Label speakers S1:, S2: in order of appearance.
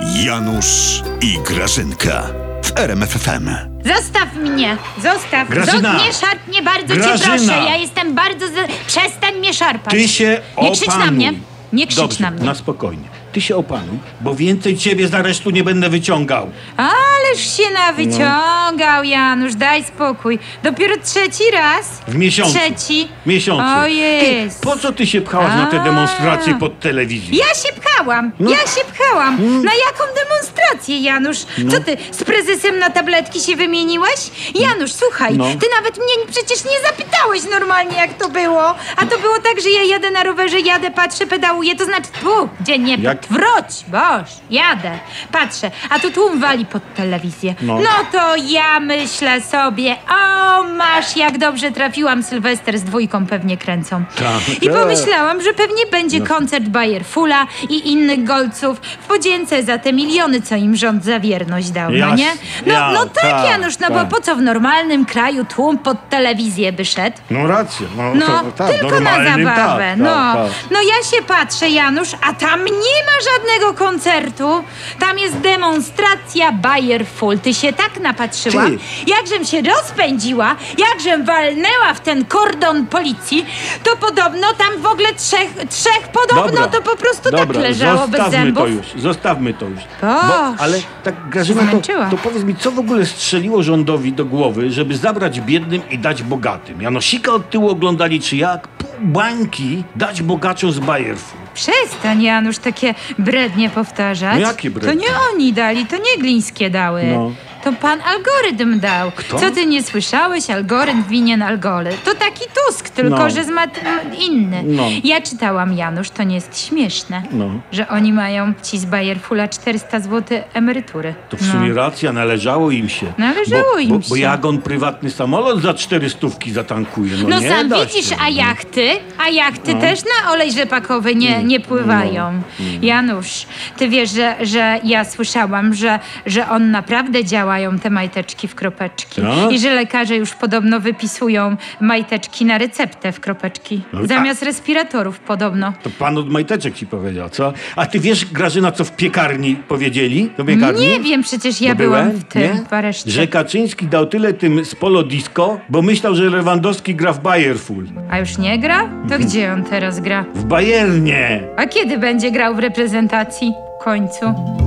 S1: Janusz i Grażynka w RMFFM.
S2: Zostaw mnie! Zostaw!
S3: Grażyna!
S2: Zod- Nie szarp mnie bardzo cię
S3: Grażyna!
S2: proszę! Ja jestem bardzo. Za... Przestań mnie szarpać!
S3: Ty się opanuj.
S2: Nie krzycz na mnie! Nie krzycz
S3: Dobrze,
S2: na mnie!
S3: na spokojnie. Ty się opanuj, bo więcej ciebie z aresztu nie będę wyciągał.
S2: Ależ się
S3: No.
S2: nawyciągał, Janusz, daj spokój. Dopiero trzeci raz?
S3: W miesiącu.
S2: Trzeci?
S3: W Miesiącu.
S2: O
S3: Ty,
S2: jest.
S3: po co ty się pchałaś na te
S2: A.
S3: demonstracje pod telewizją?
S2: Ja się pchałam,
S3: No.
S2: ja się pchałam. Na jaką demonstrację, Janusz?
S3: No.
S2: Co ty, z prezesem na tabletki się wymieniłeś? Janusz, słuchaj,
S3: No.
S2: ty nawet mnie przecież nie zapytałeś normalnie, jak to było. A to było tak, że ja jadę na rowerze, jadę, patrzę, pedałuję, to znaczy tu, gdzie nie,
S3: Jak?
S2: wróć, boż, jadę, patrzę, a tu tłum wali pod telewizję.
S3: No.
S2: No. to ja myślę sobie, o masz, jak dobrze trafiłam, Sylwester z dwójką pewnie kręcą.
S3: Tak. No.
S2: I pomyślałam, że pewnie będzie koncert Bayer-Fula i innych golców w podzięce za te miliony, co im rząd za wierność dał, no
S3: Jas-
S2: nie? No,
S3: ja-
S2: no tak,
S3: tak,
S2: Janusz, no
S3: tak.
S2: bo po co w normalnym kraju tłum pod telewizję by szedł?
S3: No rację. No,
S2: No,
S3: to- tak,
S2: tylko na
S3: normalnym,
S2: zabawę.
S3: tak,
S2: no.
S3: tak, tak.
S2: no ja się patrzę, Janusz, a tam nie ma żadnego koncertu. Tam jest demonstracja Bayer Full. Ty się tak napatrzyła,
S3: Ty.
S2: jakżem się rozpędziła, jakżem walnęła w ten kordon policji, to podobno tam w ogóle trzech, trzech podobno
S3: Dobra,
S2: to po prostu
S3: dobra,
S2: tak leżało bez
S3: zostawmy
S2: zębów.
S3: to już, zostawmy to już.
S2: Boż,
S3: ale tak Grażyna, to,
S2: zmęczyła.
S3: to powiedz mi, co w ogóle strzeliło rządowi do głowy, żeby zabrać biednym i dać bogatym? Janosika od tyłu oglądali czy jak? Pół bańki dać bogaczom z Bajerfu.
S2: Przestań, Janusz, takie brednie powtarzać.
S3: No jakie
S2: To
S3: brednie?
S2: nie oni dali, to nie Glińskie dały.
S3: No.
S2: To pan algorytm dał.
S3: Kto?
S2: Co ty nie słyszałeś? Algorytm winien algole. To taki Tusk, tylko
S3: No.
S2: że z mat- m- inny.
S3: No.
S2: Ja czytałam, Janusz, to nie jest śmieszne,
S3: No.
S2: że oni mają ci z Bajerfula 400 zł emerytury.
S3: To w sumie racja, należało im się.
S2: No. Należało
S3: bo,
S2: im
S3: bo,
S2: się.
S3: Bo jak on prywatny samolot za cztery stówki zatankuje? No,
S2: No
S3: nie
S2: sam
S3: da
S2: widzisz,
S3: się. No.
S2: a jachty, a jachty też na olej rzepakowy nie, nie pływają. Janusz, ty wiesz, że, że ja słyszałam, że, że on naprawdę działają te majteczki w kropeczki.
S3: Tak?
S2: I że lekarze już podobno wypisują majteczki na receptę w kropeczki.
S3: No,
S2: zamiast respiratorów podobno.
S3: To pan od majteczek ci powiedział, co? A ty wiesz, Grażyna, co w piekarni powiedzieli? Do piekarni?
S2: Nie wiem, przecież ja
S3: To
S2: byłam
S3: byłem?
S2: w tym
S3: Nie?
S2: w areszcie.
S3: Że Kaczyński dał tyle tym z Polo Disco, bo myślał, że Lewandowski gra w Bayerful.
S2: A już nie gra?
S3: Mhm.
S2: To gdzie on teraz gra?
S3: W Bayernie!
S2: A kiedy będzie grał w reprezentacji? W końcu.